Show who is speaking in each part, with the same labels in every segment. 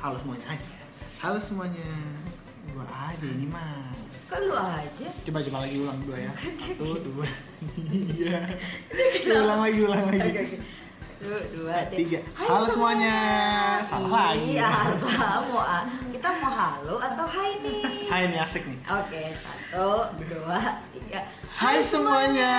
Speaker 1: Halo semuanya. Halo semuanya. Gua aja ini mah.
Speaker 2: Kok lu aja?
Speaker 1: Coba coba lagi ulang dulu ya. Satu, dua. Iya. ulang lagi, ulang lagi.
Speaker 2: Oke, oke. Satu, dua,
Speaker 1: Eh, Tiga.
Speaker 2: Hai
Speaker 1: Halo semuanya. Salah lagi.
Speaker 2: Iya, apa mau ah? Kita mau halo atau hai nih?
Speaker 1: Hai ini asik nih.
Speaker 2: Oke, satu, dua, tiga.
Speaker 1: Hai semuanya.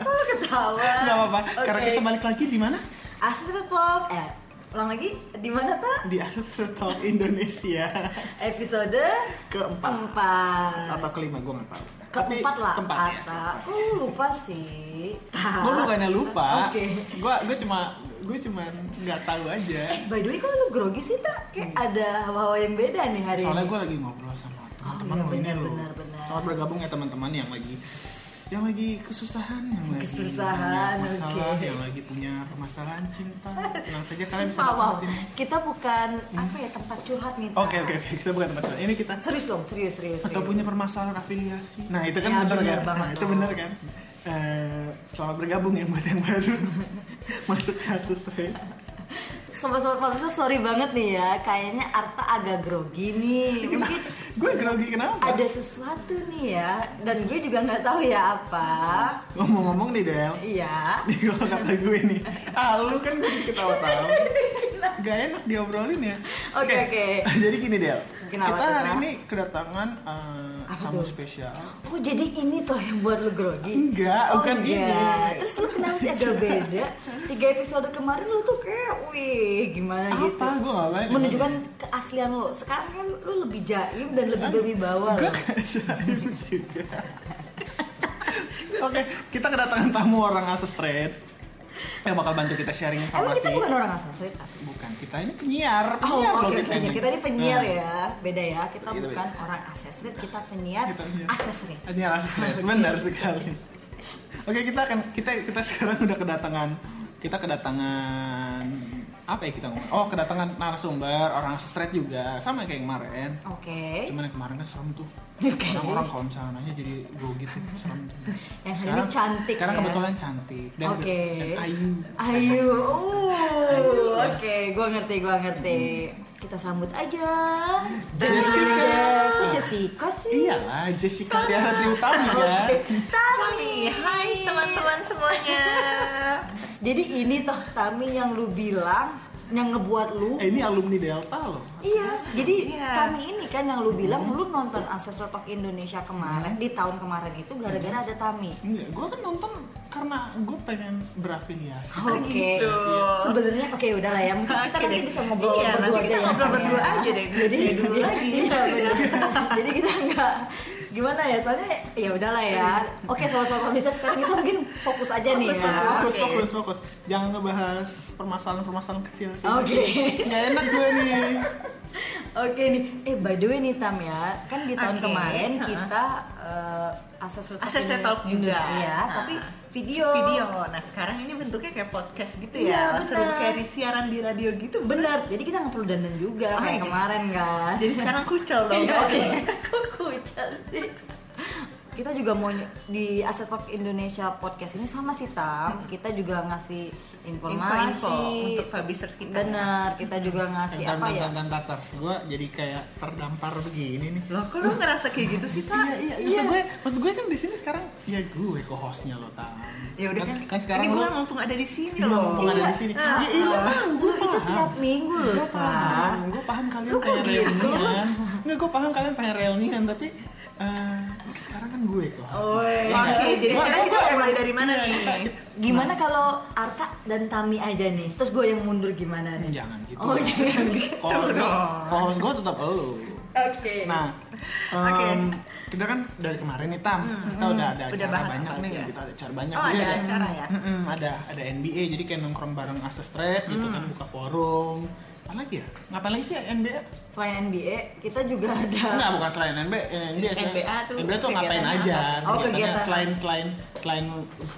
Speaker 2: Kok ketawa?
Speaker 1: Gak apa-apa. Karena
Speaker 2: Oke.
Speaker 1: kita balik lagi di mana?
Speaker 2: Asisten Talk. Eh, ulang lagi. Di mana tak?
Speaker 1: Di Astro Talk Indonesia
Speaker 2: Episode
Speaker 1: keempat
Speaker 2: keempat.
Speaker 1: atau kelima gue nggak tahu. Tapi
Speaker 2: keempat lah.
Speaker 1: keempat ya,
Speaker 2: Ata.
Speaker 1: keempat.
Speaker 2: Lu lupa sih. Tak.
Speaker 1: gue bukannya lupa
Speaker 2: Oke.
Speaker 1: gue gue cuma gue cuman nggak tahu aja
Speaker 2: Eh, by the way, kok lu grogi sih tak? Kayak ada hawa-hawa yang beda nih hari
Speaker 1: Hmm. soalnya
Speaker 2: ini.
Speaker 1: gue lagi ngobrol sama teman-teman
Speaker 2: iya,
Speaker 1: lo ini
Speaker 2: benar,
Speaker 1: lo
Speaker 2: benar, benar.
Speaker 1: selamat bergabung ya teman-teman yang lagi yang lagi kesusahan yang lagi
Speaker 2: Kesusahan,
Speaker 1: punya masalah
Speaker 2: oke.
Speaker 1: yang lagi punya permasalahan cinta tenang saja kalian bisa
Speaker 2: Maaf,
Speaker 1: datang
Speaker 2: maaf.
Speaker 1: ke sini Hmm.
Speaker 2: Kita bukan apa ya tempat curhat nih.
Speaker 1: oke
Speaker 2: Tak.
Speaker 1: oke oke kita bukan tempat curhat. ini kita
Speaker 2: Serius dong, serius, serius.
Speaker 1: atau
Speaker 2: serius.
Speaker 1: punya permasalahan afiliasi nah itu kan
Speaker 2: Ya,
Speaker 1: benar
Speaker 2: benar
Speaker 1: kan
Speaker 2: banget
Speaker 1: nah, itu
Speaker 2: dong.
Speaker 1: benar kan Eh, selamat bergabung ya buat yang baru masuk kasus Ray.
Speaker 2: Sobat-sobat pemirsa, sorry banget nih ya. Kayaknya Arta agak grogi nih. Mungkin
Speaker 1: gue grogi kenapa
Speaker 2: ada sesuatu nih ya. Dan gue juga nggak tahu ya apa.
Speaker 1: Ngomong-ngomong nih Del
Speaker 2: Iya.
Speaker 1: Nih kalau kata gue nih Ah lu kan bikin ketawa-tawa Gak enak diobrolin ya
Speaker 2: Oke, oke.
Speaker 1: Jadi gini Del
Speaker 2: Kenapa
Speaker 1: Kita
Speaker 2: tuh,
Speaker 1: hari
Speaker 2: Kak?
Speaker 1: ini kedatangan eh,
Speaker 2: Apa
Speaker 1: tamu
Speaker 2: tuh?
Speaker 1: spesial
Speaker 2: Oh jadi ini tuh yang buat lu grogi?
Speaker 1: Enggak,
Speaker 2: Oh,
Speaker 1: bukan
Speaker 2: enggak.
Speaker 1: ini.
Speaker 2: Terus lu kenapa sih agak beda? Tiga episode kemarin lu tuh kayak, wih gimana gitu
Speaker 1: Apa? Gue gak banyak
Speaker 2: Menunjukkan keaslian lu Sekarang kan lu lebih jaim dan lebih
Speaker 1: Kan,
Speaker 2: berwibawa
Speaker 1: Gue
Speaker 2: loh.
Speaker 1: kayak Syaib juga Oke, kita kedatangan tamu orang Asus Trade Yang bakal bantu kita sharing
Speaker 2: Emang
Speaker 1: informasi
Speaker 2: kita bukan orang asal cerita?
Speaker 1: Bukan, kita ini penyiar
Speaker 2: Oh,
Speaker 1: Penyiar
Speaker 2: oke,
Speaker 1: loh
Speaker 2: oke,
Speaker 1: kita
Speaker 2: oke.
Speaker 1: ini
Speaker 2: Kita ini penyiar
Speaker 1: Nah.
Speaker 2: ya, beda ya. Kita
Speaker 1: Kita
Speaker 2: bukan orang asesrit, kita penyiar
Speaker 1: Kita penyiar.
Speaker 2: asesrit.
Speaker 1: Hanya rasanya ya. benar sekali. Oke kita akan kita kita sekarang udah kedatangan kita kedatangan apa ya kita ngomong? Oh kedatangan narasumber orang straight juga sama kayak yang kemarin.
Speaker 2: Oke.
Speaker 1: Cuman yang kemarin kan serem tuh.
Speaker 2: Oke.
Speaker 1: Orang-orang kalau misalnya nanya jadi gue gitu serem. tuh.
Speaker 2: Yang hari ini cantik
Speaker 1: Sekarang
Speaker 2: ya.
Speaker 1: kebetulan cantik dan,
Speaker 2: Oke.
Speaker 1: dan ayu.
Speaker 2: Ayu, uh, oke, gua ngerti, gua ngerti. Kita sambut aja.
Speaker 1: Jessica.
Speaker 2: Jessica sih.
Speaker 1: Iyalah Jessica Tiara Triutami ya.
Speaker 2: Tami,
Speaker 3: Hai teman-teman semuanya.
Speaker 2: Jadi ini toh Tami yang lu bilang yang ngebuat lu
Speaker 1: Eh, ini alumni Delta loh.
Speaker 2: Iya, jadi
Speaker 3: Iya.
Speaker 2: kami ini kan yang lu bilang lu nonton Ases Rotok Indonesia kemarin di tahun kemarin itu gara-gara ada Tami.
Speaker 1: Enggak, gue kan nonton karena gue pengen berafiliasi.
Speaker 2: Oke.
Speaker 1: Iya.
Speaker 2: Sebenarnya oke udahlah ya, mungkin kita
Speaker 3: Oh. Oke
Speaker 2: nanti
Speaker 3: deh.
Speaker 2: bisa ngobrol
Speaker 3: Iya,
Speaker 2: berdua
Speaker 3: nanti
Speaker 2: aja
Speaker 3: kita
Speaker 2: ya,
Speaker 3: ngobrol
Speaker 2: Tam, ya.
Speaker 3: berdua aja deh.
Speaker 2: Jadi
Speaker 3: Kayak dulu
Speaker 2: iya,
Speaker 3: lagi.
Speaker 2: iya, benar. jadi kita enggak gimana ya soalnya ya udahlah ya. Oke, soal-soal bisa sekarang kita mungkin fokus aja nih
Speaker 3: Fokus,
Speaker 2: ya.
Speaker 3: fokus.
Speaker 1: Fokus,
Speaker 3: Iya, Oke.
Speaker 1: fokus, fokus. Jangan ngebahas permasalahan-permasalahan kecil.
Speaker 2: Oke.
Speaker 1: Nggak enak gue nih.
Speaker 2: Oke nih, eh by the way nih Tam ya, kan di tahun
Speaker 3: Oke,
Speaker 2: kemarin
Speaker 3: ha.
Speaker 2: kita eh, Ases Rotok
Speaker 3: Ases
Speaker 2: ini-
Speaker 3: Rotok juga.
Speaker 2: Iya,
Speaker 3: Ha.
Speaker 2: tapi video.
Speaker 3: Video. Nah sekarang ini bentuknya kayak podcast gitu
Speaker 2: Iya,
Speaker 3: ya.
Speaker 2: benar.
Speaker 3: Seru kayak di siaran di radio gitu.
Speaker 2: Bener, jadi kita nggak perlu dandan juga
Speaker 3: Oh,
Speaker 2: kayak
Speaker 3: iya.
Speaker 2: kemarin kan.
Speaker 3: Jadi oh, sekarang kucel dong.
Speaker 2: Iya,
Speaker 3: Oke.
Speaker 2: Kok kucel sih? Kita juga mau ny- di Aset Talk Indonesia podcast ini sama sih Tam. Kita juga ngasih informasi
Speaker 3: Info-info Hmm. untuk publishers kita. Eh,
Speaker 2: Bener, kita juga ngasih
Speaker 1: Entar,
Speaker 2: apa
Speaker 1: entar,
Speaker 2: ya?
Speaker 1: entar, entar, entar. Gue jadi kayak terdampar begini nih.
Speaker 3: Loh kok lu ngerasa kayak gitu sih
Speaker 1: Iya,
Speaker 3: Pak?
Speaker 1: iya, Maksud gue, maksud gue kan di sini sekarang ya gue kok hostnya lo tang.
Speaker 3: Ya udah kan.
Speaker 1: kan, kan sekarang
Speaker 3: ini
Speaker 1: lo
Speaker 3: gue mumpung ada di sini
Speaker 1: Iya,
Speaker 3: loh.
Speaker 1: mumpung ada di sini.
Speaker 3: Nah,
Speaker 1: Ya, iya, Tam,
Speaker 2: Gue Ah, itu tiap minggu
Speaker 3: Iya,
Speaker 2: loh
Speaker 1: paham,
Speaker 2: Tam.
Speaker 1: gue paham kalian
Speaker 2: Lu kok
Speaker 1: pengen
Speaker 2: gitu?
Speaker 1: reunian Nggak, gue paham kalian pengen reunian, tapi eh, sekarang kan gue kok
Speaker 2: Oh, iya.
Speaker 1: Ya,
Speaker 3: Oke,
Speaker 1: nggak?
Speaker 3: jadi
Speaker 1: Gua-
Speaker 3: sekarang
Speaker 1: gua-
Speaker 3: kita
Speaker 1: gua-
Speaker 3: mulai dari mana
Speaker 1: iya,
Speaker 3: nih?
Speaker 1: kita- kita-
Speaker 2: Gimana kalau Arta dan Tami aja nih? Terus gue yang mundur gimana
Speaker 1: Hmm,
Speaker 2: nih?
Speaker 1: Jangan gitu
Speaker 2: Oh, jangan gitu.
Speaker 1: Host gue,
Speaker 3: dong.
Speaker 1: host gue tetap elu
Speaker 2: Oke.
Speaker 1: Nah, em,
Speaker 3: Oke. Hmm,
Speaker 1: kita kan dari kemarin nih Tam, kita udah ada
Speaker 3: Udah
Speaker 1: acara
Speaker 3: bahas
Speaker 1: banyak
Speaker 3: apa
Speaker 1: nih,
Speaker 3: aja?
Speaker 1: kita ada acara banyak.
Speaker 3: Oh,
Speaker 1: Jadi
Speaker 3: ada acara ya?
Speaker 1: Mm-mm, hmm, ada ada NBA, jadi kayak nongkrong bareng Asus Trade gitu kan,
Speaker 3: Hmm.
Speaker 1: buka forum. Apa lagi ya? Ngapain lagi sih ya, NBA?
Speaker 2: Selain NBA, kita juga ada
Speaker 1: Enggak, bukan selain NBA, eh, NBA, saya-
Speaker 3: NBA tuh
Speaker 1: NBA tuh ngapain
Speaker 3: kegiatannya
Speaker 1: aja?
Speaker 3: apa?
Speaker 2: Oh,
Speaker 1: Kegiatannya
Speaker 2: kegiatan.
Speaker 1: selain selain selain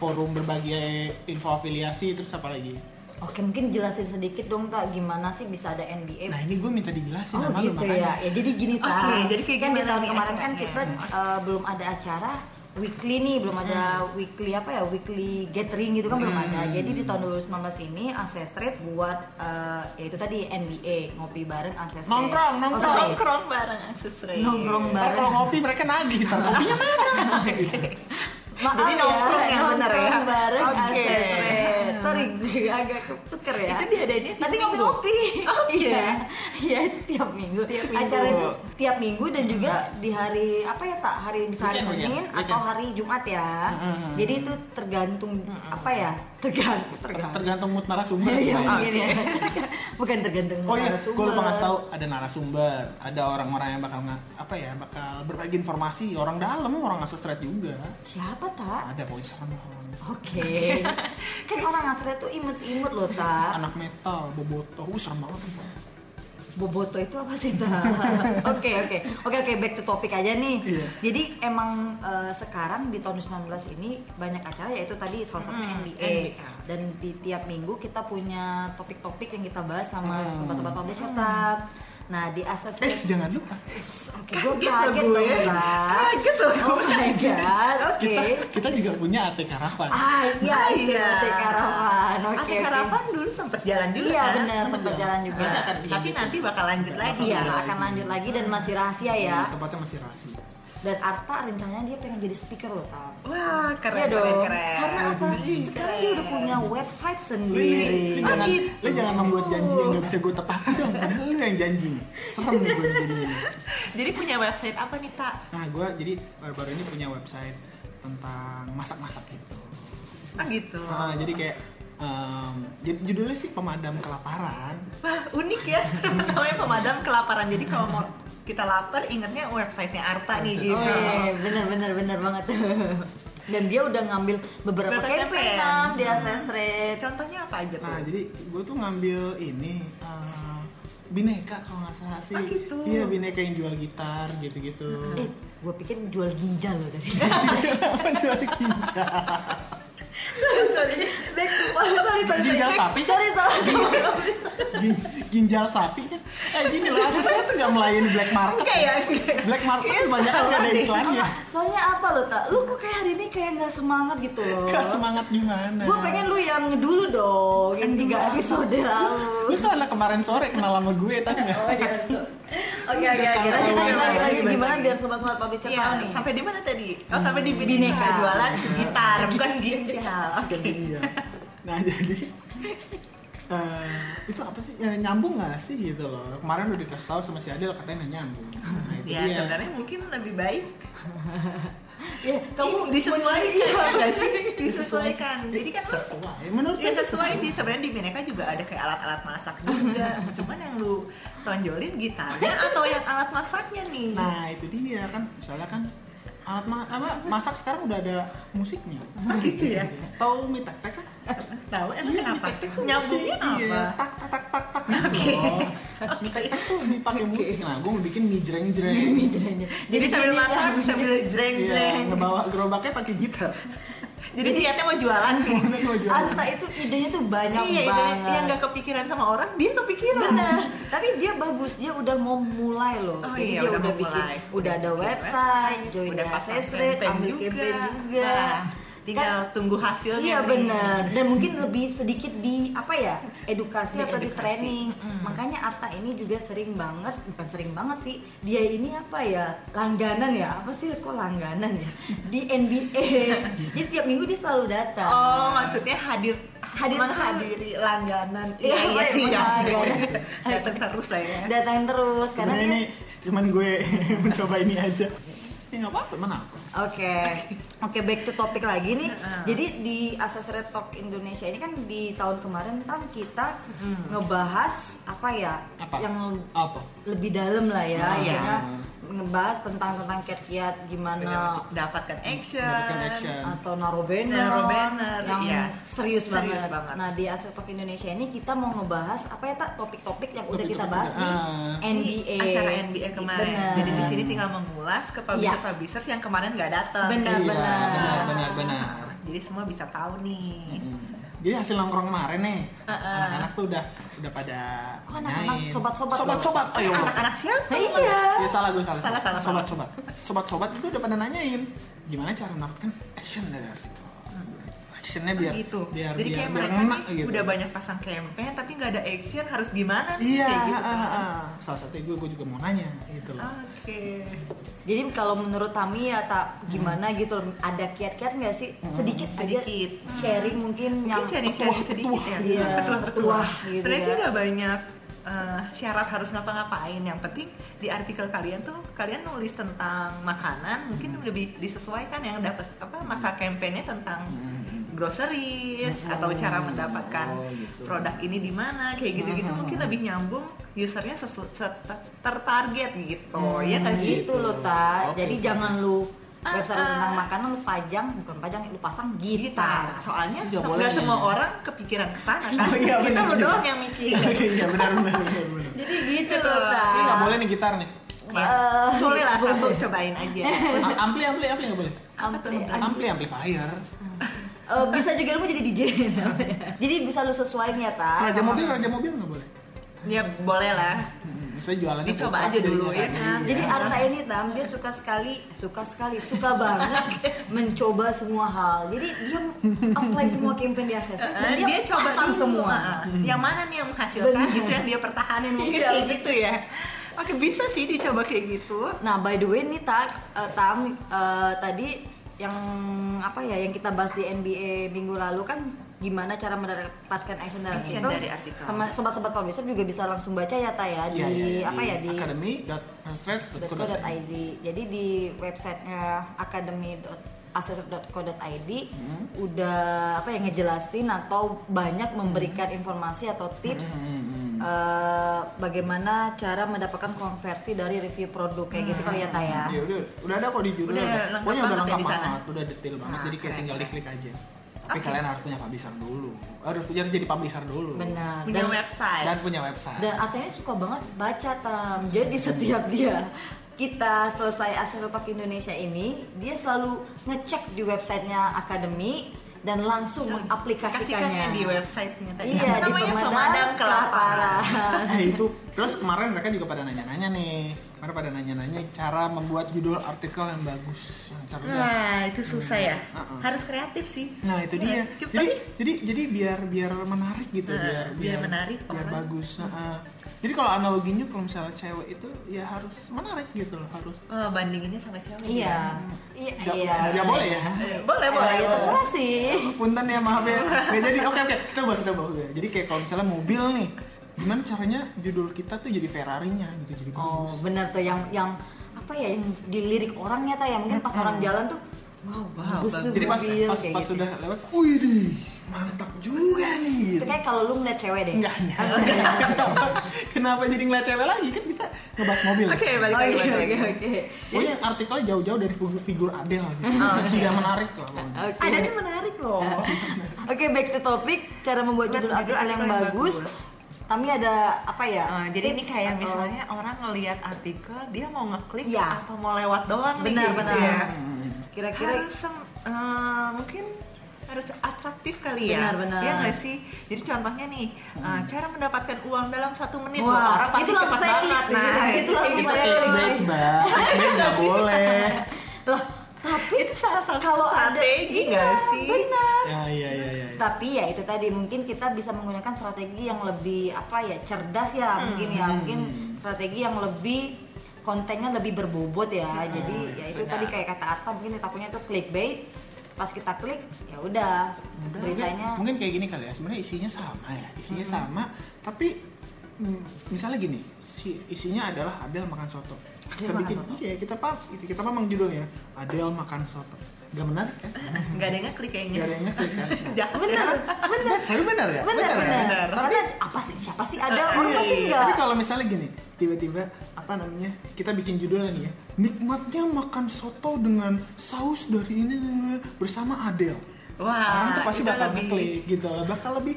Speaker 1: forum berbagai info afiliasi terus apa lagi?
Speaker 2: Oke, mungkin jelasin sedikit dong Kak, gimana sih bisa ada NBA?
Speaker 1: Nah, ini gue minta dijelasin
Speaker 2: oh
Speaker 1: sama lu
Speaker 2: gitu
Speaker 1: makanya.
Speaker 2: ya. Ya jadi gini
Speaker 3: Oke,
Speaker 2: Kak.
Speaker 3: jadi kayak
Speaker 2: kan di
Speaker 3: gimana
Speaker 2: tahun
Speaker 3: nih
Speaker 1: Iya,
Speaker 2: kemarin kan
Speaker 3: acaranya?
Speaker 2: kita eh, belum ada acara weekly nih belum
Speaker 1: Hmm.
Speaker 2: ada weekly apa ya weekly gathering gitu kan belum ada jadi di tahun 2019 ini Ancestry buat eh, ya itu tadi NBA ngopi bareng Ancestry
Speaker 1: Nongkrong, nongkrong.
Speaker 3: Iya.
Speaker 2: sorry.
Speaker 3: nongkrong bareng akses rate
Speaker 2: Nongkrong
Speaker 1: Ntar
Speaker 2: bareng.
Speaker 1: kalau ngopi mereka nagih, ntar kopinya mana? Gitu.
Speaker 2: Maaf
Speaker 3: Jadi nongkrong
Speaker 2: ya,
Speaker 3: yang bener ya.
Speaker 2: nongkrong bareng
Speaker 3: Oke.
Speaker 2: Ancestry sorry gue agak ketuker ya
Speaker 3: Itu diadainnya tiap
Speaker 2: tapi
Speaker 3: minggu?
Speaker 2: ngopi-ngopi
Speaker 3: Oh,
Speaker 2: iya
Speaker 3: iya.
Speaker 2: iya tiap minggu
Speaker 3: Tiap minggu. Iya.
Speaker 2: acara itu tiap minggu dan juga di hari apa ya tak hari bisa hari
Speaker 1: Weekend,
Speaker 2: Senin
Speaker 1: weekend,
Speaker 2: atau
Speaker 1: weekend.
Speaker 2: hari Jumat ya
Speaker 3: Mm-hmm.
Speaker 1: Mm-mm.
Speaker 2: jadi itu tergantung apa ya tergantung tergantung
Speaker 1: Tergantung mood narasumber.
Speaker 2: Iya,
Speaker 1: sebenarnya.
Speaker 3: Ah,
Speaker 2: mungkin ya. Bukan tergantung
Speaker 1: Oh iya,
Speaker 2: narasumber.
Speaker 1: gue lupa ngasih tahu ada narasumber, ada orang-orang yang bakal nga- apa ya, bakal berbagi informasi, orang dalam, orang asal straight juga.
Speaker 2: Siapa tak?
Speaker 3: Ah.
Speaker 1: Ada voice orang orang-
Speaker 2: Oke. kan orang asli itu imut-imut loh tak.
Speaker 1: anak metal, boboto, uh serem banget. tuh.
Speaker 2: Boboto itu apa sih Ta? Oke oke oke oke back to topic aja nih.
Speaker 1: Iya.
Speaker 2: Jadi emang eh, sekarang di tahun 19 ini banyak acara yaitu tadi salah satu
Speaker 3: Mm,
Speaker 2: NBA.
Speaker 3: NBA.
Speaker 2: dan di tiap minggu kita punya topik-topik yang kita bahas sama
Speaker 1: Hmm.
Speaker 2: sobat-sobat publisher tak. Nah di asas
Speaker 1: Eh jangan lupa
Speaker 2: Oke, gue
Speaker 3: Kaget
Speaker 2: kaget dong
Speaker 3: loh gue.
Speaker 2: Mbak.
Speaker 3: Kaget loh
Speaker 2: Oh my god, oke.
Speaker 1: kita kita juga punya ATK Rapan.
Speaker 2: Ah iya, iya. Atik Karavan, oke.
Speaker 3: Atik
Speaker 2: oke.
Speaker 3: Karavan dulu sempat jalan juga
Speaker 2: Iya
Speaker 3: kan?
Speaker 2: benar, sempat jalan juga.
Speaker 1: Banyak kan?
Speaker 3: Tapi nanti bakal lanjut lagi
Speaker 2: Iya,
Speaker 1: Lagi. Iya,
Speaker 2: akan lanjut lagi dan masih rahasia ya.
Speaker 1: Tempatnya masih rasi.
Speaker 2: Dan Arta rencananya dia pengen jadi speaker loh, Tam.
Speaker 3: Wah
Speaker 2: Iya
Speaker 3: keren keren
Speaker 2: dong.
Speaker 3: keren.
Speaker 2: Karena apa?
Speaker 3: Ih,
Speaker 2: Sekarang dia udah
Speaker 3: keren.
Speaker 2: punya website
Speaker 1: Lu, lu, lu
Speaker 2: sendiri.
Speaker 3: Oh,
Speaker 1: jangan,
Speaker 3: gitu.
Speaker 1: lu jangan membuat janji yang gak bisa gue tepati dong. Karena lu yang janji. Serem nih gue jadi ini.
Speaker 3: Jadi punya website apa nih tak?
Speaker 1: Nah gue jadi baru-baru ini punya website tentang masak-masak gitu.
Speaker 3: Ah gitu.
Speaker 1: Ah, jadi kayak em, jadi judulnya sih pemadam kelaparan.
Speaker 3: Wah unik ya namanya pemadam kelaparan. Jadi kalau mau kita lapar ingetnya websitenya Arta nih gitu.
Speaker 2: Oh iya, bener bener bener banget. Dan dia udah ngambil beberapa
Speaker 3: Beberapa
Speaker 2: campaign
Speaker 3: campaign. Hmm.
Speaker 2: Tam, di Asas Street.
Speaker 3: Contohnya apa aja tuh?
Speaker 1: iya. Nah, jadi gue tuh ngambil ini eh, bineka kalau nggak salah sih.
Speaker 3: Ah, gitu.
Speaker 1: Iya, bineka yang jual gitar gitu-gitu.
Speaker 2: Eh, gue pikir jual ginjal loh tadi.
Speaker 1: Apa jual ginjal?
Speaker 2: sorry, back to sorry, sorry, sorry.
Speaker 1: Ginjal
Speaker 2: Back-
Speaker 1: sapi? Iya,
Speaker 2: Sorry, sorry, sorry.
Speaker 1: Gin- ginjal sapi kan? Eh gini loh, asesnya tuh nggak melayani black market.
Speaker 3: Enggak ya? enggak.
Speaker 1: Black market tuh banyak kan nggak ada iklannya.
Speaker 3: Oh.
Speaker 2: Soalnya apa lo tak? Lu kok kayak hari ini kayak nggak semangat gitu loh.
Speaker 1: Gak semangat gimana?
Speaker 2: Gue pengen lu yang dulu dong, yang tiga episode lalu.
Speaker 1: Lu tuh anak kemarin sore kenal sama gue tau nggak?
Speaker 3: Oh, iya,
Speaker 2: Oke oke oke. Lanjut lagi lagi lagi gimana biar sobat-sobat publisher
Speaker 3: Iya,
Speaker 2: tahu nih.
Speaker 3: sampai di mana tadi? Oh, sampai di
Speaker 2: Hmm,
Speaker 3: Bineka,
Speaker 2: Bineka.
Speaker 3: jualan gitar, bukan ginjal. Oke.
Speaker 1: iya. Nah jadi eh, itu apa sih Eh, nyambung nggak sih gitu loh kemarin udah dikasih tahu sama si Adel katanya nggak nyambung nah itu
Speaker 3: Ya,
Speaker 1: dia
Speaker 3: sebenarnya mungkin lebih baik
Speaker 2: Ya, kamu
Speaker 3: Ih, Iya,
Speaker 2: iya.
Speaker 3: disesuaikan nggak sih? Disesuaikan. Jadi kan lu
Speaker 1: sesuai menurut
Speaker 3: Ya
Speaker 1: saya
Speaker 3: sesuai sih sebenarnya di Bineka juga ada kayak alat-alat masak juga. Cuman yang lu tonjolin gitarnya atau yang alat masaknya nih?
Speaker 1: nah itu dia kan misalnya kan alat ma- apa, masak sekarang udah ada musiknya
Speaker 3: Oh, gitu ya.
Speaker 1: tahu mie tek tek kan
Speaker 3: Tahu emang
Speaker 1: Iya, mie
Speaker 3: kenapa?
Speaker 1: tek tek tuh
Speaker 3: Nyambungnya
Speaker 1: musik. iya,
Speaker 3: apa?
Speaker 1: tak tak tak tak tak gitu loh mie tek tek tuh dipakai musik nah gue mau bikin mie jreng jreng
Speaker 2: Jadi,
Speaker 3: Jadi sambil masak sambil
Speaker 1: Iya,
Speaker 3: jreng-jreng.
Speaker 1: ngebawa gerobaknya pakai gitar.
Speaker 3: Jadi niatnya mau jualan nih.
Speaker 2: Iya,
Speaker 1: Gue jualan.
Speaker 2: Arta itu idenya tuh banyak
Speaker 3: iya, itu
Speaker 2: banget.
Speaker 3: yang nggak kepikiran sama orang, dia kepikiran.
Speaker 2: Bener. Tapi dia bagus, dia udah mau mulai loh.
Speaker 3: Oh
Speaker 2: Jadi dia
Speaker 3: iya, udah
Speaker 2: udah
Speaker 3: mau
Speaker 2: bikin,
Speaker 3: mulai.
Speaker 2: udah ada
Speaker 3: Udah bikin
Speaker 2: website, join
Speaker 3: Udah
Speaker 2: udah
Speaker 3: pasang
Speaker 2: street,
Speaker 3: campaign
Speaker 2: ambil
Speaker 3: juga.
Speaker 2: campaign juga.
Speaker 3: Nah, tinggal tunggu
Speaker 2: Kan-
Speaker 3: hasilnya.
Speaker 2: Iya
Speaker 3: nih.
Speaker 2: bener. Dan mungkin lebih sedikit di apa ya edukasi
Speaker 3: Di
Speaker 2: atau di
Speaker 3: edukasi.
Speaker 2: training. Makanya Arta ini juga sering banget, bukan sering banget sih. Dia ini apa ya langganan ya? Apa sih kok langganan ya? Di NBA. Jadi tiap minggu dia selalu datang.
Speaker 3: Oh, maksudnya hadir
Speaker 2: Hadir
Speaker 3: menghadiri langganan.
Speaker 2: Iya, iya, langganan.
Speaker 3: ya. Datang terus lah ya.
Speaker 2: Datang terus karena
Speaker 1: Sebenarnya
Speaker 2: dia-
Speaker 1: ini cuman gue mencoba ini aja. Ya nggak apa-apa, mana apa.
Speaker 2: Oke, oke back to topic lagi nih.
Speaker 3: Heeh.
Speaker 2: Jadi di Asas Red Talk Indonesia ini kan di tahun kemarin kan kita ngebahas apa ya
Speaker 1: Apa?
Speaker 2: yang
Speaker 1: Apa?
Speaker 2: lebih dalam lah ya,
Speaker 1: Ah,
Speaker 2: ya.
Speaker 1: iya.
Speaker 2: ngebahas tentang tentang kiat-kiat gimana
Speaker 3: Dapatkan action.
Speaker 1: Mendapatkan action.
Speaker 2: atau naro banner,
Speaker 3: Naro banner,
Speaker 2: yang
Speaker 3: iya.
Speaker 2: serius,
Speaker 3: Serius
Speaker 2: banget.
Speaker 3: banget.
Speaker 2: Nah di Asas Talk Indonesia ini kita mau ngebahas apa ya tak topik-topik yang udah kita
Speaker 1: Topik-topik
Speaker 2: bahas di
Speaker 1: udah. Ah.
Speaker 2: NBA
Speaker 3: Iya, acara NBA kemarin.
Speaker 2: Bener.
Speaker 3: Jadi di sini tinggal mengulas ke publisher-publisher yang kemarin nggak datang.
Speaker 2: Bener. Iya.
Speaker 1: Iya,
Speaker 2: Benar, benar.
Speaker 1: benar, benar, benar.
Speaker 3: Jadi semua bisa tahu nih.
Speaker 1: Hmm. Jadi hasil nongkrong kemarin nih,
Speaker 3: Heeh.
Speaker 1: anak-anak tuh udah udah pada
Speaker 2: Kok anak-anak
Speaker 1: nanyain.
Speaker 2: sobat-sobat loh?
Speaker 1: sobat-sobat, ayo.
Speaker 3: Anak-anak siapa?
Speaker 2: Nah,
Speaker 3: gitu.
Speaker 2: iya.
Speaker 1: Ya salah gue salah.
Speaker 3: Salah, salah,
Speaker 1: sobat, sobat. Sobat sobat itu udah pada nanyain gimana cara mendapatkan action dari artikel. Actionnya biar
Speaker 3: gitu.
Speaker 1: biar
Speaker 3: Jadi
Speaker 1: biar,
Speaker 3: kayak
Speaker 1: biar
Speaker 3: mereka
Speaker 1: ngena
Speaker 3: nih
Speaker 1: gitu.
Speaker 3: udah banyak pasang campaign tapi nggak ada action harus gimana sih
Speaker 1: Iya,
Speaker 3: kayak gitu. Ah.
Speaker 1: ah,
Speaker 3: kan.
Speaker 1: ah, ah. salah satu gue gue juga mau nanya gitu loh.
Speaker 3: Oke.
Speaker 2: Jadi kalau menurut Tami ya tak gimana gitu loh, ada kiat-kiat nggak sih sedikit
Speaker 3: Hmm. Sedikit.
Speaker 2: aja sharing mungkin,
Speaker 3: Mungkin
Speaker 2: yang
Speaker 3: sharing-sharing
Speaker 1: petuah,
Speaker 3: sedikit ya.
Speaker 1: petuah.
Speaker 2: Iya, petuah gitu
Speaker 3: Sebenarnya
Speaker 2: ya.
Speaker 3: sih nggak banyak eh, syarat harus ngapa-ngapain. Yang penting di artikel kalian tuh kalian nulis tentang makanan, mungkin
Speaker 1: Hmm.
Speaker 3: lebih disesuaikan yang dapat apa masa campaignnya tentang
Speaker 1: Hmm.
Speaker 3: groceries
Speaker 1: Oh,
Speaker 3: atau cara mendapatkan
Speaker 1: oh, gitu.
Speaker 3: produk ini di mana kayak gitu-gitu
Speaker 1: Hmm.
Speaker 3: mungkin lebih nyambung usernya sesu- set- tertarget gitu
Speaker 1: Hmm,
Speaker 3: ya kan sih
Speaker 2: gitu loh tak.
Speaker 1: Oke.
Speaker 2: Jadi jangan lu
Speaker 3: Ah,
Speaker 2: website
Speaker 3: ah.
Speaker 2: tentang makanan lu pajang bukan pajang lu pasang gitar.
Speaker 3: gitar soalnya
Speaker 1: Nggak
Speaker 3: nggak
Speaker 1: boleh ya.
Speaker 3: semua orang kepikiran ke sana kan
Speaker 1: Oh, iya,
Speaker 3: kita
Speaker 1: benar
Speaker 3: lo
Speaker 1: juga.
Speaker 3: doang yang mikir
Speaker 1: Oke, iya benar benar benar. benar.
Speaker 2: Jadi gitu
Speaker 3: Gitu.
Speaker 2: loh tak.
Speaker 1: Ini nggak boleh nih gitar nih.
Speaker 2: Eh,
Speaker 3: Nah, boleh lah satu cobain aja
Speaker 1: A- Ampli ampli ampli nggak boleh.
Speaker 2: Ampli,
Speaker 1: Ampli amplifier.
Speaker 2: Eh, bisa juga lu mau jadi DJ namanya. Jadi bisa lu sesuaiin ya tak.
Speaker 3: Ah,
Speaker 1: Raja mobil raja mobil nggak boleh.
Speaker 3: ya boleh lah
Speaker 1: Hmm, Misalnya jualannya
Speaker 3: Dicoba
Speaker 1: bokap
Speaker 3: aja dulu,
Speaker 1: jadinya
Speaker 3: ya
Speaker 1: kan.
Speaker 3: kan?
Speaker 2: Jadi
Speaker 1: Iya.
Speaker 2: Arta ini Tam dia suka sekali, suka sekali, suka banget mencoba semua hal. Jadi dia apply semua campaign di assessment dan
Speaker 3: Eh,
Speaker 2: dia, coba pasang
Speaker 3: dulu.
Speaker 2: semua.
Speaker 1: Hmm.
Speaker 3: Eh, yang mana nih yang menghasilkan
Speaker 2: Benar.
Speaker 3: gitu yang dia pertahanin mungkin
Speaker 2: Iya,
Speaker 3: kayak gitu ya oke bisa sih dicoba kayak gitu
Speaker 2: Nah, by the way nih tak eh, Tam eh, tadi yang apa ya yang kita bahas di NBA minggu lalu kan gimana cara mendapatkan action dari
Speaker 3: Action
Speaker 2: artikel.
Speaker 3: dari artikel.
Speaker 2: Teman- sobat-sobat publisher juga bisa langsung baca ya tak
Speaker 1: Iya,
Speaker 2: ya di
Speaker 1: iya, iya.
Speaker 2: apa ya di
Speaker 1: academy.translate.co.id.
Speaker 2: .co.id. Jadi di websitenya academy.assessor.co.id
Speaker 1: Hmm.
Speaker 2: udah apa ya ngejelasin atau banyak memberikan informasi atau tips
Speaker 1: Hmm, hmm.
Speaker 2: eh, bagaimana cara mendapatkan konversi dari review produk kayak gitu kali ya Taya.
Speaker 1: Iya udah, udah ada kok di judul.
Speaker 3: Udah
Speaker 1: ada.
Speaker 3: lengkap
Speaker 1: Pokoknya udah
Speaker 3: banget ya
Speaker 1: lengkap
Speaker 3: di sana.
Speaker 1: banget, udah detail banget.
Speaker 3: Nah,
Speaker 1: jadi kayak
Speaker 3: keren,
Speaker 1: tinggal
Speaker 3: keren.
Speaker 1: diklik aja. Tapi
Speaker 3: Oke.
Speaker 1: kalian harus punya publisher dulu. Harus punya jadi publisher dulu.
Speaker 2: Benar.
Speaker 3: punya
Speaker 2: Dan-
Speaker 3: website
Speaker 1: Nah, Dan punya website.
Speaker 2: Dan Atanya suka banget baca tam. Jadi setiap dia kita selesai Asia Talk Indonesia ini, dia selalu ngecek di websitenya Akademi dan langsung
Speaker 3: Kasihkannya
Speaker 2: mengaplikasikannya
Speaker 3: di websitenya tadi
Speaker 2: Iya,
Speaker 3: Apa
Speaker 2: di
Speaker 3: namanya
Speaker 2: pemadam,
Speaker 3: pemadam kelaparan
Speaker 2: kelaparan.
Speaker 1: Eh, itu. Terus kemarin mereka juga pada nanya-nanya nih. Kemarin pada nanya-nanya cara membuat judul artikel yang bagus, yang cerdas.
Speaker 3: Nah, itu susah ya.
Speaker 1: Uh-uh.
Speaker 3: Harus kreatif sih.
Speaker 1: Nah itu dia.
Speaker 3: Iya, cepet
Speaker 1: Jadi
Speaker 3: sih.
Speaker 1: jadi jadi biar biar menarik gitu,
Speaker 3: Nah,
Speaker 1: biar
Speaker 3: biar menarik,
Speaker 1: biar
Speaker 3: pemeran.
Speaker 1: bagus. Nah, ah. Jadi kalau analoginya kalau misalnya cewek itu ya harus menarik gitu loh, harus.
Speaker 3: Oh, bandinginnya sama cewek.
Speaker 2: Iya.
Speaker 1: Nggak- nggak boleh ya?
Speaker 3: ya. Boleh, boleh.
Speaker 2: Eh, ya terserah sih.
Speaker 1: Punten ya maaf ya. Nggak jadi oke oke kita coba kita coba. Udah. Jadi kayak kalau misalnya mobil nih, gimana caranya judul kita tuh jadi Ferrarinya gitu jadi
Speaker 2: Oh,
Speaker 1: bagus.
Speaker 2: benar tuh yang yang apa ya yang dilirik orangnya ta ya mungkin pas orang jalan tuh wow, bagus
Speaker 3: bagus.
Speaker 2: tuh
Speaker 1: Jadi pas
Speaker 2: mobil,"
Speaker 1: pas,
Speaker 2: kayak
Speaker 1: pas
Speaker 2: gitu.
Speaker 1: sudah lewat, wih di, mantap juga nih.
Speaker 2: Itu
Speaker 1: Gitu.
Speaker 2: kayak Oh, kalau lu ngeliat cewek deh.
Speaker 1: Enggak, enggak, enggak. Kenapa, kenapa jadi ngeliat cewek lagi? Kan kita ngebahas mobil.
Speaker 3: Oke, balik
Speaker 2: Oh,
Speaker 3: lagi.
Speaker 2: iya,
Speaker 3: balik lagi.
Speaker 2: oke oke.
Speaker 1: Pokoknya artikelnya jauh-jauh dari figur, figur Adele gitu.
Speaker 2: Oh,
Speaker 1: Tidak menarik lah pokoknya.
Speaker 2: Oke.
Speaker 3: Ada nih menarik loh.
Speaker 2: Oke, back to topic, cara membuat judul
Speaker 3: Membuat judul
Speaker 2: artikel yang
Speaker 3: artikel yang
Speaker 2: bagus.
Speaker 3: bagus.
Speaker 2: Kami ada apa ya?
Speaker 3: Eh, jadi ini
Speaker 2: tips
Speaker 3: kayak
Speaker 2: atau-
Speaker 3: misalnya orang ngelihat artikel, dia mau ngeklik
Speaker 2: Iya.
Speaker 3: apa mau lewat doang nih,
Speaker 2: Benar,
Speaker 3: gitu
Speaker 2: benar.
Speaker 3: ya.
Speaker 2: kira-kira
Speaker 3: harus sem- eh, mungkin harus atraktif kali ya.
Speaker 2: Benar, benar.
Speaker 3: Iya nggak sih? Jadi contohnya nih, eh, cara mendapatkan uang dalam satu menit.
Speaker 2: Wah,
Speaker 3: Wah, orang pasti
Speaker 2: itu langsung
Speaker 3: cepat
Speaker 2: saya
Speaker 3: banget.
Speaker 2: klik sih. Itu langsung
Speaker 3: gitu.
Speaker 2: saya klik.
Speaker 1: Baik, Mbak. Ini nggak boleh.
Speaker 2: loh, tapi
Speaker 3: Itu salah satu
Speaker 2: kalau ada
Speaker 3: strategi nggak
Speaker 2: iya,
Speaker 3: sih?
Speaker 2: Benar.
Speaker 1: Ya, iya, iya, iya. iya.
Speaker 2: tapi ya itu tadi mungkin kita bisa menggunakan strategi yang lebih apa ya cerdas ya
Speaker 3: Hmm.
Speaker 2: mungkin ya mungkin strategi yang lebih kontennya lebih berbobot ya jadi ya itu
Speaker 3: Hmm, benar.
Speaker 2: tadi kayak kata Arta mungkin takutnya tuh clickbait pas kita klik ya udah
Speaker 1: Mungkin,
Speaker 2: beritanya
Speaker 1: mungkin kayak gini kali ya. Sebenarnya isinya sama ya. Isinya sama, tapi mm, misalnya gini, si isinya adalah Adele makan soto. Kita
Speaker 2: Adele makan
Speaker 1: bikin,
Speaker 2: soto.
Speaker 1: iya kita paham, kita paham judulnya Adele makan soto. Gak menarik kan?
Speaker 3: Nah, Nggak ada yang ngeklik kayaknya.
Speaker 1: Gak ada yang ngeklik kan? Nah,
Speaker 3: Jahat.
Speaker 2: bener bener
Speaker 1: Tapi benar ya?
Speaker 2: bener
Speaker 1: kan?
Speaker 2: bener
Speaker 3: benar.
Speaker 2: karena apa sih siapa sih ada
Speaker 3: Eh,
Speaker 2: orang
Speaker 3: iya,
Speaker 2: pasti
Speaker 3: iya,
Speaker 2: enggak
Speaker 1: Tapi kalau misalnya gini, tiba-tiba apa namanya? Kita bikin judulnya nih ya. Nikmatnya makan soto dengan saus dari ini bersama Adele. Orang
Speaker 3: Wah,
Speaker 1: tuh pasti
Speaker 3: Nah, Ah, itu
Speaker 1: bakal
Speaker 3: lebih-
Speaker 1: ngeklik gitu loh. Bakal lebih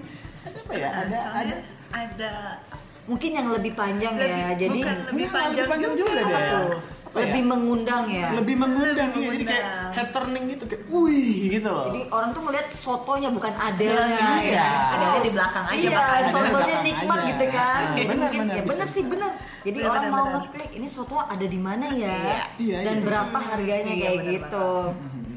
Speaker 1: ada apa ya? Ada ada
Speaker 3: Soalnya ada
Speaker 2: mungkin yang lebih panjang ya
Speaker 3: Lebih-
Speaker 2: jadi
Speaker 3: bukan
Speaker 1: ini
Speaker 3: lebih
Speaker 1: hal
Speaker 3: panjang
Speaker 1: lebih panjang juga,
Speaker 3: juga.
Speaker 1: deh.
Speaker 2: Apa tuh?
Speaker 1: Apa apa ya?
Speaker 2: lebih mengundang ya
Speaker 1: lebih mengundang
Speaker 3: Lebih
Speaker 1: iya, jadi kayak
Speaker 3: mengundang.
Speaker 1: head turning gitu kayak wih gitu loh
Speaker 2: jadi orang tuh melihat sotonya bukan adelnya
Speaker 3: Iya.
Speaker 2: ya.
Speaker 3: Adelnya di belakang aja,
Speaker 2: iya,
Speaker 3: makanya.
Speaker 2: sotonya
Speaker 1: Adelnya di
Speaker 2: nikmat
Speaker 1: belakang
Speaker 2: gitu
Speaker 1: aja.
Speaker 2: kan
Speaker 1: Nah,
Speaker 2: Mungkin-
Speaker 1: benar, benar,
Speaker 2: ya
Speaker 1: bisa,
Speaker 2: benar sih
Speaker 1: bisa.
Speaker 2: benar jadi
Speaker 3: Benar,
Speaker 2: orang
Speaker 3: benar,
Speaker 2: mau
Speaker 3: benar.
Speaker 2: ngeklik ini soto ada di mana ya
Speaker 1: Iya,
Speaker 2: dan
Speaker 1: iya.
Speaker 2: berapa harganya
Speaker 3: Iya,
Speaker 2: kayak
Speaker 3: benar,
Speaker 2: gitu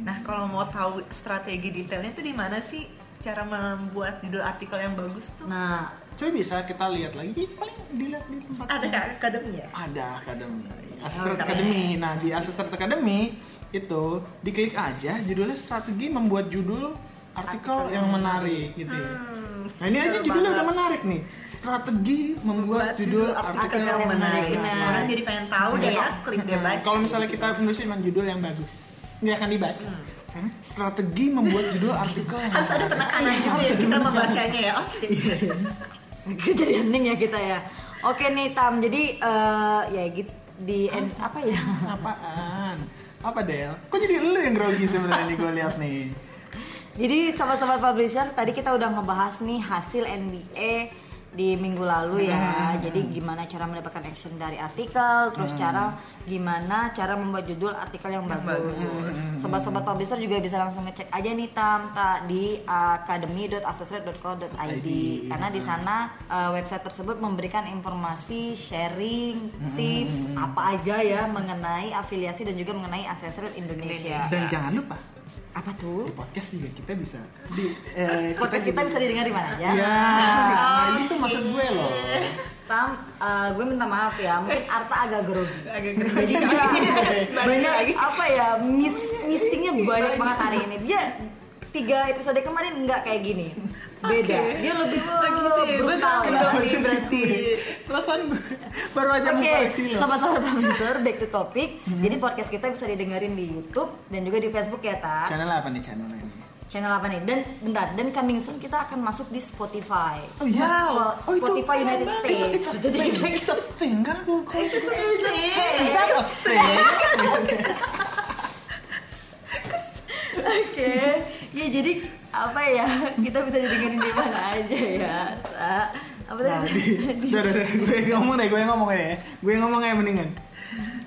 Speaker 3: Nah, kalau mau tahu strategi detailnya tuh di mana sih cara membuat judul artikel yang bagus tuh?
Speaker 2: nah
Speaker 1: coba bisa kita lihat lagi Ih, paling dilihat di tempat
Speaker 3: Ada
Speaker 1: yang-
Speaker 3: nggak akademi ya?
Speaker 1: ada akademi Assistant
Speaker 3: Oh,
Speaker 1: Academy nah di Assistant Academy itu diklik aja judulnya strategi membuat judul artikel
Speaker 2: Artikel
Speaker 1: yang
Speaker 2: yang
Speaker 1: menarik gitu ya.
Speaker 3: Hmm,
Speaker 1: Nah ini aja
Speaker 3: seru
Speaker 1: judulnya
Speaker 3: banget.
Speaker 1: udah menarik nih Strategi membuat judul artikel yang menarik
Speaker 2: Benar.
Speaker 3: Orang Nah, jadi pengen tahu deh ya, klik deh
Speaker 1: Nah,
Speaker 3: baca.
Speaker 1: Kalau misalnya kita menulis cuma judul yang bagus nggak akan dibaca Karena strategi membuat judul artikel yang
Speaker 3: Hmm. harus ada
Speaker 1: menarik.
Speaker 3: penekanan juga ya kita membacanya ya. Oke.
Speaker 1: Iya.
Speaker 2: jadi hening ya kita ya oke nih tam jadi eh, ya gitu di en- apa ya
Speaker 1: Apaan? Apa Del? Kok jadi lu yang grogi sebenarnya nih gue lihat nih.
Speaker 2: Jadi sahabat-sahabat publisher tadi kita udah ngebahas nih hasil NBA di minggu lalu ya. Jadi gimana cara mendapatkan action dari artikel, terus cara gimana cara membuat judul artikel Hmm. yang bagus. Hmm. Sobat-sobat publisher juga bisa langsung ngecek aja nih Tam Ta, di academy.assessrate.co.id
Speaker 1: ID.
Speaker 2: karena di sana uh, website tersebut memberikan informasi, sharing, tips apa aja ya mengenai afiliasi dan juga mengenai Assessrate Indonesia.
Speaker 1: Dan jangan lupa
Speaker 2: Apa tuh?
Speaker 1: di podcast juga kita bisa di eh,
Speaker 2: Podcast kita bisa didengar di mana aja.
Speaker 1: Ya,
Speaker 3: Iya.
Speaker 1: nah itu maksud gue loh.
Speaker 2: Tam, eh, gue minta maaf
Speaker 1: Eh.
Speaker 2: ya, mungkin Arta agak grogi.
Speaker 3: Agak grogi.
Speaker 2: Jadi dia banyak
Speaker 3: lagi.
Speaker 2: apa ya miss missingnya banyak banget hari ini. Dia tiga episode kemarin nggak kayak gini, beda.
Speaker 3: Oke.
Speaker 2: Dia lebih
Speaker 3: gitu ya,
Speaker 2: brutal.
Speaker 3: betul.
Speaker 1: Kenapa
Speaker 3: berarti-
Speaker 1: jadi
Speaker 3: berarti-
Speaker 1: gue? Perasaan gue baru aja Hmm. mau
Speaker 2: Oke,
Speaker 1: koreksi lo.
Speaker 2: sobat-sobat peminter, back to topic. Jadi podcast kita bisa didengerin di YouTube dan juga di Facebook ya, Ta.
Speaker 1: Channel apa nih channel ini?
Speaker 2: Channel apa nih? Dan bentar, dan coming soon kita akan masuk di Spotify.
Speaker 1: Oh iya.
Speaker 2: Wow, Spotify United
Speaker 1: Itu
Speaker 2: States.
Speaker 1: it's a thing, it's a thing kan gue kok.
Speaker 3: Oke.
Speaker 1: It's a thing.
Speaker 2: Oke, ya jadi apa ya kita bisa didengerin di mana aja ya. Sa. Apa
Speaker 1: Nah,
Speaker 2: tadi?
Speaker 1: di, udah, udah, udah, gue yang ngomong deh, gue yang ngomong ya, gue yang ngomong ya mendingan.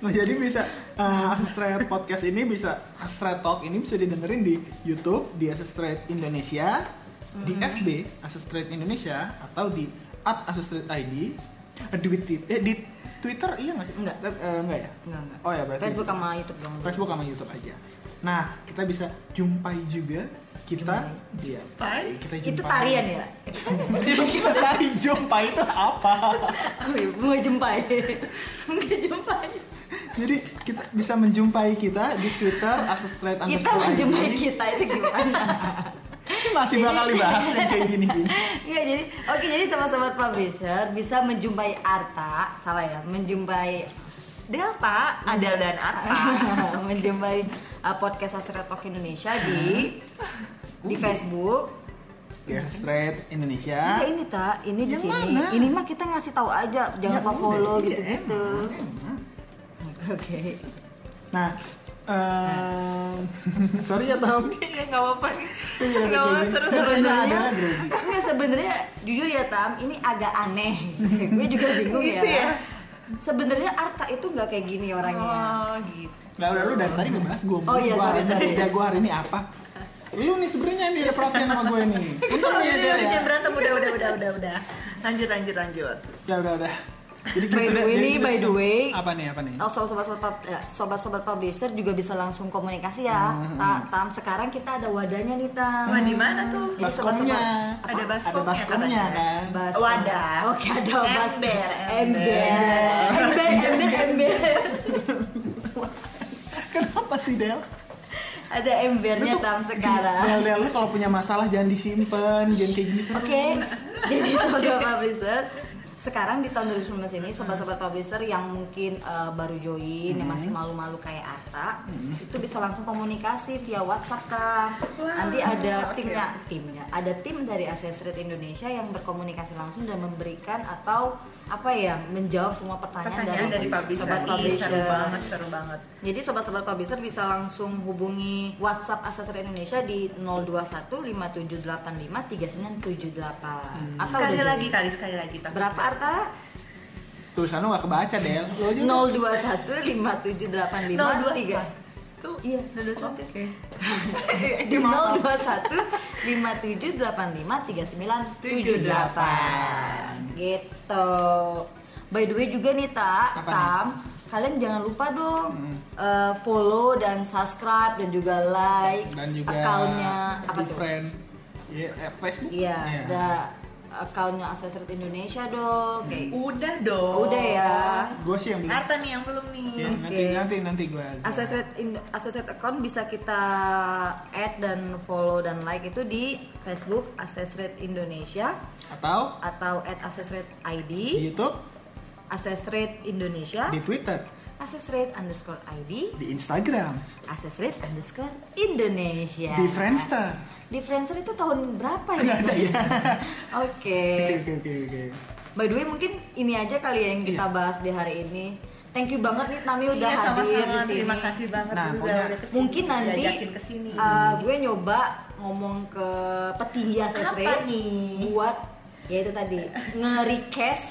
Speaker 1: Nah, jadi bisa uh, Astrate podcast ini bisa Astrate Talk ini bisa didengerin di YouTube di Astrate Indonesia, di
Speaker 2: Mm-hmm.
Speaker 1: FB Astrate Indonesia atau di at Astrate ID, eh, di, Wit- eh, di Twitter iya nggak sih?
Speaker 2: Enggak.
Speaker 1: Eh, eh, enggak ya?
Speaker 2: Enggak, enggak.
Speaker 1: Oh ya berarti
Speaker 2: Facebook sama YouTube dong.
Speaker 1: Facebook sama YouTube aja. Nah, kita bisa jumpai juga kita dia kita jumpai.
Speaker 2: Itu tarian ya?
Speaker 1: kita tari jumpai itu apa?
Speaker 2: Oh iya, bunga jumpai. Bunga jumpai.
Speaker 1: Jadi kita bisa menjumpai kita di Twitter @asestraight
Speaker 2: Kita
Speaker 1: underscore
Speaker 2: menjumpai
Speaker 1: ID.
Speaker 2: kita itu gimana?
Speaker 1: Ini masih bakal dibahas yang kayak gini gini.
Speaker 2: Iya jadi oke jadi sobat-sobat publisher bisa menjumpai Arta salah ya menjumpai
Speaker 3: Delta, Adel dan
Speaker 1: Iya,
Speaker 3: Arta.
Speaker 2: menjumpai uh, podcast Asret Talk Indonesia di di Facebook
Speaker 1: Di Asestraight Ya, Indonesia.
Speaker 2: Enggak ini tak, ini di
Speaker 1: Yang
Speaker 2: sini.
Speaker 1: mana?
Speaker 2: Ini mah kita ngasih tahu aja, Iya, jangan
Speaker 1: Ya,
Speaker 2: lupa follow
Speaker 3: Iya, eh.
Speaker 2: gitu, gitu-gitu. Oke.
Speaker 1: Nah, eh sorry ya Tom.
Speaker 3: Iya, nggak apa-apa.
Speaker 1: Itu jadi
Speaker 3: Nggak
Speaker 1: kayak
Speaker 3: apa-apa,
Speaker 1: gini.
Speaker 3: seru-seru
Speaker 1: Sebenarnya
Speaker 3: aja.
Speaker 1: adalah grogi.
Speaker 2: Enggak sebenarnya jujur ya Tam, ini agak aneh. Gue juga bingung
Speaker 3: Gitu ya?
Speaker 2: ya. Sebenarnya Arta itu nggak kayak gini orangnya.
Speaker 3: Oh, gitu.
Speaker 1: Nah, udah lu dari tadi ngebahas gue
Speaker 2: Oh iya,
Speaker 1: gua
Speaker 2: sorry,
Speaker 1: hari
Speaker 2: sorry.
Speaker 1: ini, gue hari ini apa? Lu nih sebenarnya nih ada perhatian sama gue nih. Untung nih ya
Speaker 3: Udah,
Speaker 1: Del
Speaker 3: udah,
Speaker 1: ya.
Speaker 3: jangan berantem, udah, udah, udah, udah, udah. Lanjut, lanjut, lanjut.
Speaker 1: Ya udah udah. Jadi gitu
Speaker 2: By the
Speaker 1: deh,
Speaker 2: way
Speaker 1: jadi
Speaker 2: nih,
Speaker 1: kita
Speaker 2: by the
Speaker 1: siap-
Speaker 2: way.
Speaker 1: Apa nih apa nih?
Speaker 2: Oh, sobat-sobat pub- eh, sobat-sobat publisher juga bisa langsung komunikasi ya. Ta- Tam, sekarang kita ada wadahnya nih Tam.
Speaker 3: Oh. Wah, di mana tuh?
Speaker 2: Jadi
Speaker 1: Baskomnya.
Speaker 2: sobat-sobat- apa?
Speaker 3: Ada baskomnya,
Speaker 1: Ada baskomnya
Speaker 3: katanya.
Speaker 1: kan.
Speaker 2: Bas-
Speaker 3: Wadah.
Speaker 2: Oke, ada
Speaker 3: Ember,
Speaker 2: bas.
Speaker 3: ember.
Speaker 2: Ember, ember, ember.
Speaker 1: Kenapa sih Del?
Speaker 2: Ada embernya Tam sekarang.
Speaker 1: Del, Del, lu kalau punya masalah jangan disimpan, jangan kayak gitu.
Speaker 2: Oke, jadi sobat-sobat publisher sekarang di tahun 2019 ini sobat-sobat publisher yang mungkin eh, baru join
Speaker 3: Mm-hmm.
Speaker 2: yang masih malu-malu kayak Ata itu bisa langsung komunikasi via WhatsApp kan nanti ada
Speaker 3: oke.
Speaker 2: timnya timnya ada tim dari Asesret Indonesia yang berkomunikasi langsung dan memberikan atau apa ya menjawab semua pertanyaan,
Speaker 3: Pertanyaan dari publisher.
Speaker 2: sobat
Speaker 3: Ih,
Speaker 2: publisher
Speaker 3: Seru banget, seru banget.
Speaker 2: jadi sobat-sobat publisher bisa langsung hubungi WhatsApp Asesor Indonesia di 02157853978. Arta
Speaker 3: Sekali
Speaker 2: udah
Speaker 3: lagi
Speaker 2: jadi?
Speaker 3: kali, sekali lagi. tapi-
Speaker 2: Berapa Arta?
Speaker 1: Tulisan lu gak kebaca, Del. Lu aja.
Speaker 2: 021 5785
Speaker 3: Tuh,
Speaker 2: Iya,
Speaker 3: 021. Oke.
Speaker 1: Eh,
Speaker 2: 3 di 021 5785 3978 gitu by the way juga nih Ta,
Speaker 1: Apa Hmm.
Speaker 2: Tam kalian jangan lupa dong eh, follow dan subscribe dan juga like
Speaker 1: Dan juga
Speaker 2: akunnya apa
Speaker 1: di
Speaker 2: tuh
Speaker 1: friend. Iya, eh, Facebook.
Speaker 2: iya
Speaker 1: Iya.
Speaker 2: ada akunnya Accessory Indonesia dong kayak gitu.
Speaker 3: Udah dong.
Speaker 2: Udah ya.
Speaker 1: Gua sih yang belum.
Speaker 3: Arta nih yang belum nih.
Speaker 1: Ya, nanti
Speaker 2: Oke.
Speaker 1: nanti nanti gua. gua-
Speaker 2: Accessory in- Accessory account bisa kita add dan follow dan like itu di Facebook Accessory Indonesia
Speaker 1: Atau
Speaker 2: atau at Accessory
Speaker 1: di
Speaker 2: ID,
Speaker 1: YouTube,
Speaker 2: Accessory Indonesia,
Speaker 1: di Twitter,
Speaker 2: Accessory underscore ID,
Speaker 1: di Instagram,
Speaker 2: Accessory underscore Indonesia.
Speaker 1: di Friendster.
Speaker 2: Di Friendster itu tahun berapa ya?
Speaker 3: iya.
Speaker 2: Oke.
Speaker 1: Oke oke oke oke.
Speaker 2: By the way mungkin ini aja kali ya yang kita bahas di hari ini. Thank you banget nih Tami udah
Speaker 3: Iya,
Speaker 2: hadir
Speaker 3: sama-sama.
Speaker 2: di sini.
Speaker 3: Terima kasih banget
Speaker 1: Nah,
Speaker 3: udah,
Speaker 1: pokoknya-
Speaker 3: udah kesini.
Speaker 2: mungkin nanti
Speaker 3: Diajakin kesini.
Speaker 2: uh, gue nyoba ngomong ke petinggi Asesre
Speaker 3: Apa nih?
Speaker 2: buat ya itu tadi nge-request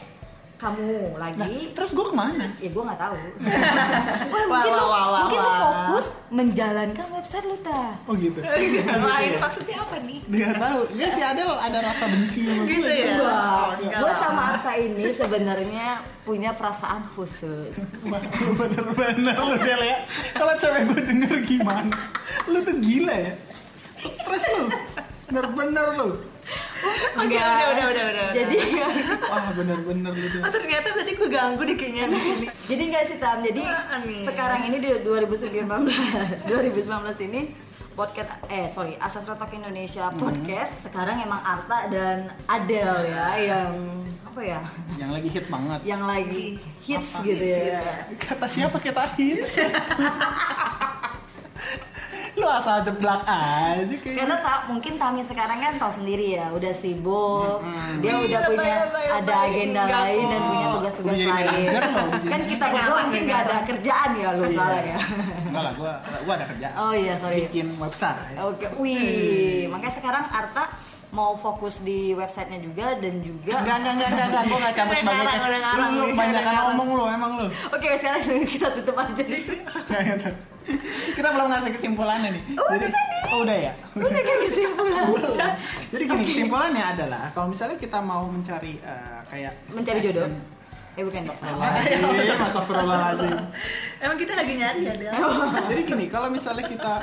Speaker 2: kamu
Speaker 1: Nah,
Speaker 2: lagi
Speaker 1: terus gua kemana?
Speaker 2: ya gue nggak tahu Wah,
Speaker 3: Wah,
Speaker 2: mungkin
Speaker 3: wah,
Speaker 2: lo
Speaker 3: wah, wah,
Speaker 2: mungkin lo
Speaker 3: wah.
Speaker 2: fokus menjalankan website lo ta
Speaker 1: Oh gitu.
Speaker 2: Iya,
Speaker 3: Wah, ini maksudnya apa nih?
Speaker 1: Dia tahu. Dia sih ada ada rasa benci sama gua.
Speaker 3: Gitu ya? Iya. Oh, enggak
Speaker 2: gue
Speaker 3: lah.
Speaker 2: sama Arta ini sebenarnya punya perasaan khusus
Speaker 1: Wah, lu bener-bener lu Del ya. Kalau cewek gue denger gimana? Lu tuh gila ya. Stres lu. Bener-bener lu.
Speaker 3: Oke, udah, udah, udah, udah.
Speaker 2: jadi
Speaker 1: Wah, bener-bener lu tuh.
Speaker 3: Oh, ternyata tadi gue ganggu deh kayaknya di sini.
Speaker 2: Jadi nggak sih Tam, jadi
Speaker 3: Apaan nih?
Speaker 2: sekarang ini di 2019 2019 ini podcast eh sorry Asas Retak Indonesia
Speaker 3: Hmm.
Speaker 2: podcast sekarang emang Arta dan Adele ya yang apa ya
Speaker 1: Yang lagi hit banget.
Speaker 2: yang lagi hits
Speaker 3: Apa?
Speaker 2: gitu ya.
Speaker 3: Hits gitu ya.
Speaker 1: Iya. Kata siapa kita hits? lu asal jeblak aja kayak.
Speaker 2: Karena tak mungkin Tami sekarang kan tahu sendiri ya udah sibuk
Speaker 1: Mm-mm. Iya,
Speaker 2: dia
Speaker 3: Ih,
Speaker 2: udah
Speaker 3: lebay,
Speaker 2: punya
Speaker 3: lebay,
Speaker 2: ada
Speaker 3: lebay.
Speaker 2: agenda
Speaker 3: Enggak
Speaker 2: lain dan
Speaker 1: kok.
Speaker 2: punya tugas-tugas
Speaker 1: Udah jadi
Speaker 2: lain
Speaker 1: manajer loh di sini.
Speaker 2: kan kita berdua
Speaker 3: Ngapa,
Speaker 2: mungkin nggak ada
Speaker 3: ngapa.
Speaker 2: kerjaan ya lu
Speaker 1: Iya.
Speaker 2: soalnya ya.
Speaker 1: Enggak lah, gua gua ada kerjaan.
Speaker 2: Oh iya sorry.
Speaker 1: Bikin website. Hmm.
Speaker 2: Oke, wih, makanya sekarang Arta mau fokus di websitenya juga dan
Speaker 1: Enggak,
Speaker 2: juga.
Speaker 1: enggak, enggak, enggak, enggak, gua gak cabut
Speaker 3: Udah
Speaker 1: banyak.
Speaker 3: ngarang, udah
Speaker 1: Lu
Speaker 3: ngarang,
Speaker 1: lu
Speaker 3: udah
Speaker 1: kebanyakan
Speaker 3: ngarang.
Speaker 1: ngomong lu, emang lu.
Speaker 2: Oke, sekarang kita tutup aja.
Speaker 1: Jangan, jangan. kita belum ngasih kesimpulannya nih. Jadi, oh, udah ya.
Speaker 2: Udah kayak kesimpulan.
Speaker 1: Jadi gini kesimpulannya adalah kalau misalnya kita mau mencari eh, kayak Iya,
Speaker 2: Mencari jodoh. Eh bukan dok.
Speaker 1: Astagfirullahaladzim, astagfirullahaladzim.
Speaker 3: Emang kita lagi nyari ya, Del?
Speaker 2: Oh.
Speaker 1: Jadi gini, kalau misalnya kita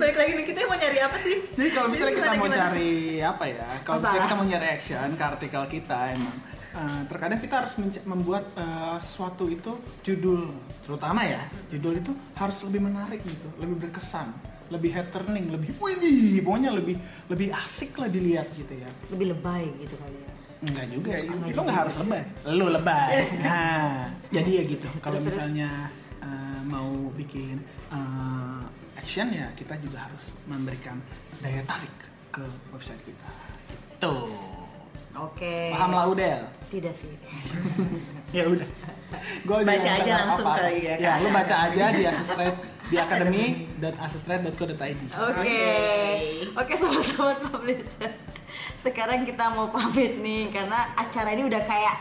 Speaker 3: Balik lagi nih, kita mau nyari apa sih?
Speaker 1: jadi kalau misalnya kita
Speaker 3: gimana,
Speaker 1: mau
Speaker 3: gimana?
Speaker 1: cari apa ya? Kalau misalnya
Speaker 2: Masalah.
Speaker 1: kita mau nyari action ke artikel kita emang eh, terkadang kita harus menc- membuat eh, sesuatu itu judul terutama ya. Judul itu harus lebih menarik gitu, lebih berkesan, lebih head turning, lebih wih, pokoknya lebih lebih asik lah dilihat gitu ya.
Speaker 2: Lebih lebay gitu kali ya.
Speaker 1: Enggak juga sih.
Speaker 2: Enggak
Speaker 1: Lu
Speaker 2: juga.
Speaker 1: enggak harus lebay. Lu lebay. Nah, jadi ya gitu. Kalau
Speaker 2: Terus, terus.
Speaker 1: misalnya eh, mau bikin eh, action ya kita juga harus memberikan daya tarik ke website kita. Gitu.
Speaker 2: Oke.
Speaker 1: Paham lah Udel?
Speaker 2: Tidak sih.
Speaker 1: Ya udah. Gua juga
Speaker 3: Baca
Speaker 1: nggak
Speaker 3: aja
Speaker 1: tahu
Speaker 3: langsung
Speaker 1: apa-apa.
Speaker 3: kali ya,
Speaker 1: Ya,
Speaker 3: kan?
Speaker 1: lu baca aja di Asestrate di academy.asestrate.co.id.
Speaker 3: Oh, nah,
Speaker 2: Oke. Oke, sobat-sobat publisher. Sekarang kita mau pamit nih karena acara ini udah kayak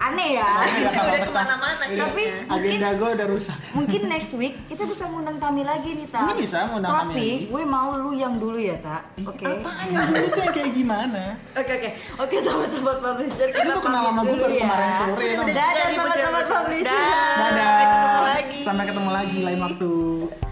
Speaker 2: aneh ya.
Speaker 1: Udah kabar
Speaker 3: Udah
Speaker 1: pecah.
Speaker 3: kemana-mana
Speaker 1: Iya.
Speaker 2: Tapi
Speaker 1: agenda
Speaker 2: mungkin-
Speaker 1: gue udah rusak.
Speaker 2: Mungkin next week kita bisa ngundang Tami lagi nih, Ta.
Speaker 1: Mungkin bisa ngundang Tami
Speaker 2: Tapi
Speaker 1: lagi.
Speaker 2: gue mau lu yang dulu ya, Ta. Oke.
Speaker 1: Apaan yang dulu tuh yang kayak gimana?
Speaker 2: Oke oke. Oke sahabat-sahabat publisher kita
Speaker 1: Lu tuh kenal
Speaker 2: pamit
Speaker 1: sama gue
Speaker 2: dulu
Speaker 1: baru
Speaker 2: ya.
Speaker 1: kemarin sore, tau gak?
Speaker 2: Dadah
Speaker 3: Jadi,
Speaker 2: sahabat-sahabat
Speaker 3: betul-betul.
Speaker 2: publisher.
Speaker 3: Dadah.
Speaker 1: Dadah.
Speaker 3: Sampai ketemu lagi.
Speaker 1: Sampai ketemu lagi lain waktu.